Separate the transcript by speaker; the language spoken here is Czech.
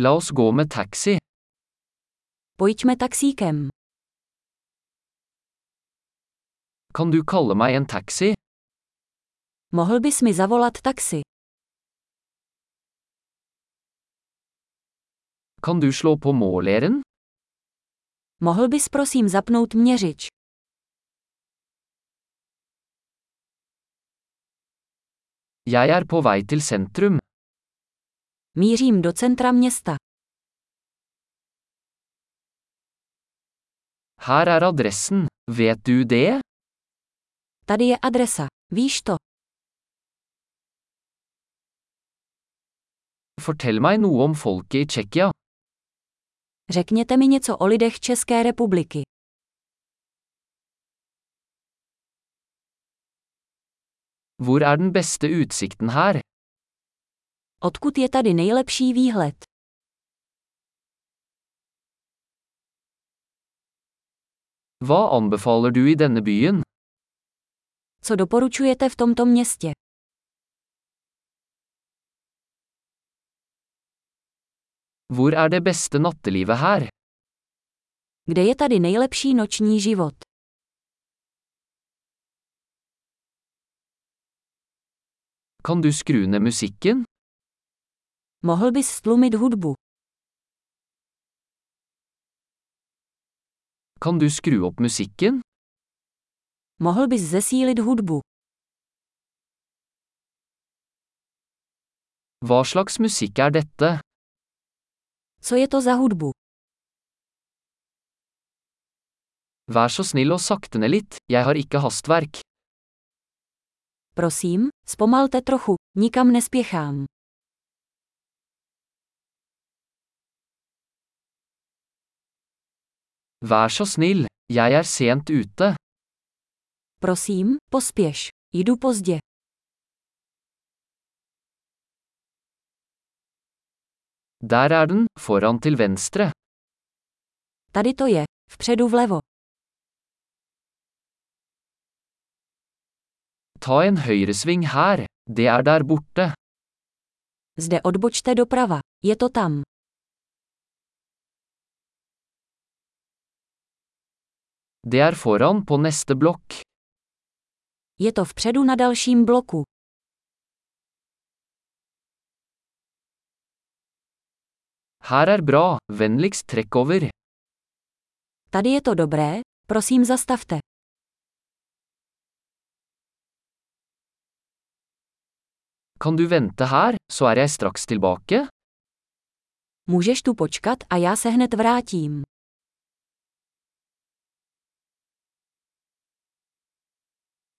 Speaker 1: La oss gå med taxi.
Speaker 2: Pojďme taxíkem.
Speaker 1: Kan du kalle meg en taxi?
Speaker 2: Mohl bys mi zavolat taxi?
Speaker 1: Kan du slå på måleren?
Speaker 2: Mohl bys prosím zapnout měřič?
Speaker 1: Jeg er på vei til sentrum.
Speaker 2: Mířím do centra města.
Speaker 1: Her er adressen. Vet du det?
Speaker 2: Tady je adresa. Víš to?
Speaker 1: Fortell meg noe om folket i Tsjekkia.
Speaker 2: Řekněte mi něco o lidech České republiky.
Speaker 1: Hvor er den beste utsikten her?
Speaker 2: Odkud je tady nejlepší výhled?
Speaker 1: Hva anbefaler du i denne byen?
Speaker 2: Co doporučujete v tomto městě?
Speaker 1: Hvor er det beste nattelivet her?
Speaker 2: Kde je tady nejlepší noční život?
Speaker 1: Kan du skru ned musikken?
Speaker 2: Mohl bys stlumit hudbu?
Speaker 1: Kan du skru opp musikken?
Speaker 2: Mohl bys zesílit hudbu?
Speaker 1: Hva slags musikk er dette?
Speaker 2: Co je to za hudbu?
Speaker 1: Vær så snill og sakte ned litt, jeg har ikke hastverk.
Speaker 2: Prosím, zpomalte trochu, nikam nespěchám.
Speaker 1: Vær så snill, jeg er sent ute.
Speaker 2: Prosím, pospěš. Jdu pozdě.
Speaker 1: Der er den, foran til venstre.
Speaker 2: Tady to je. Vpředu vlevo.
Speaker 1: Ta en høyresving her, det er der borte.
Speaker 2: Zde odbočte doprava. Je to tam.
Speaker 1: Det er foran på neste blokk.
Speaker 2: Je to vpředu na dalším bloku.
Speaker 1: Her er bra, vennligst trekk over.
Speaker 2: Tady je to dobré, prosím zastavte.
Speaker 1: Kan du vente her, så er jeg straks tilbake?
Speaker 2: Můžeš tu počkat a já se hned vrátím.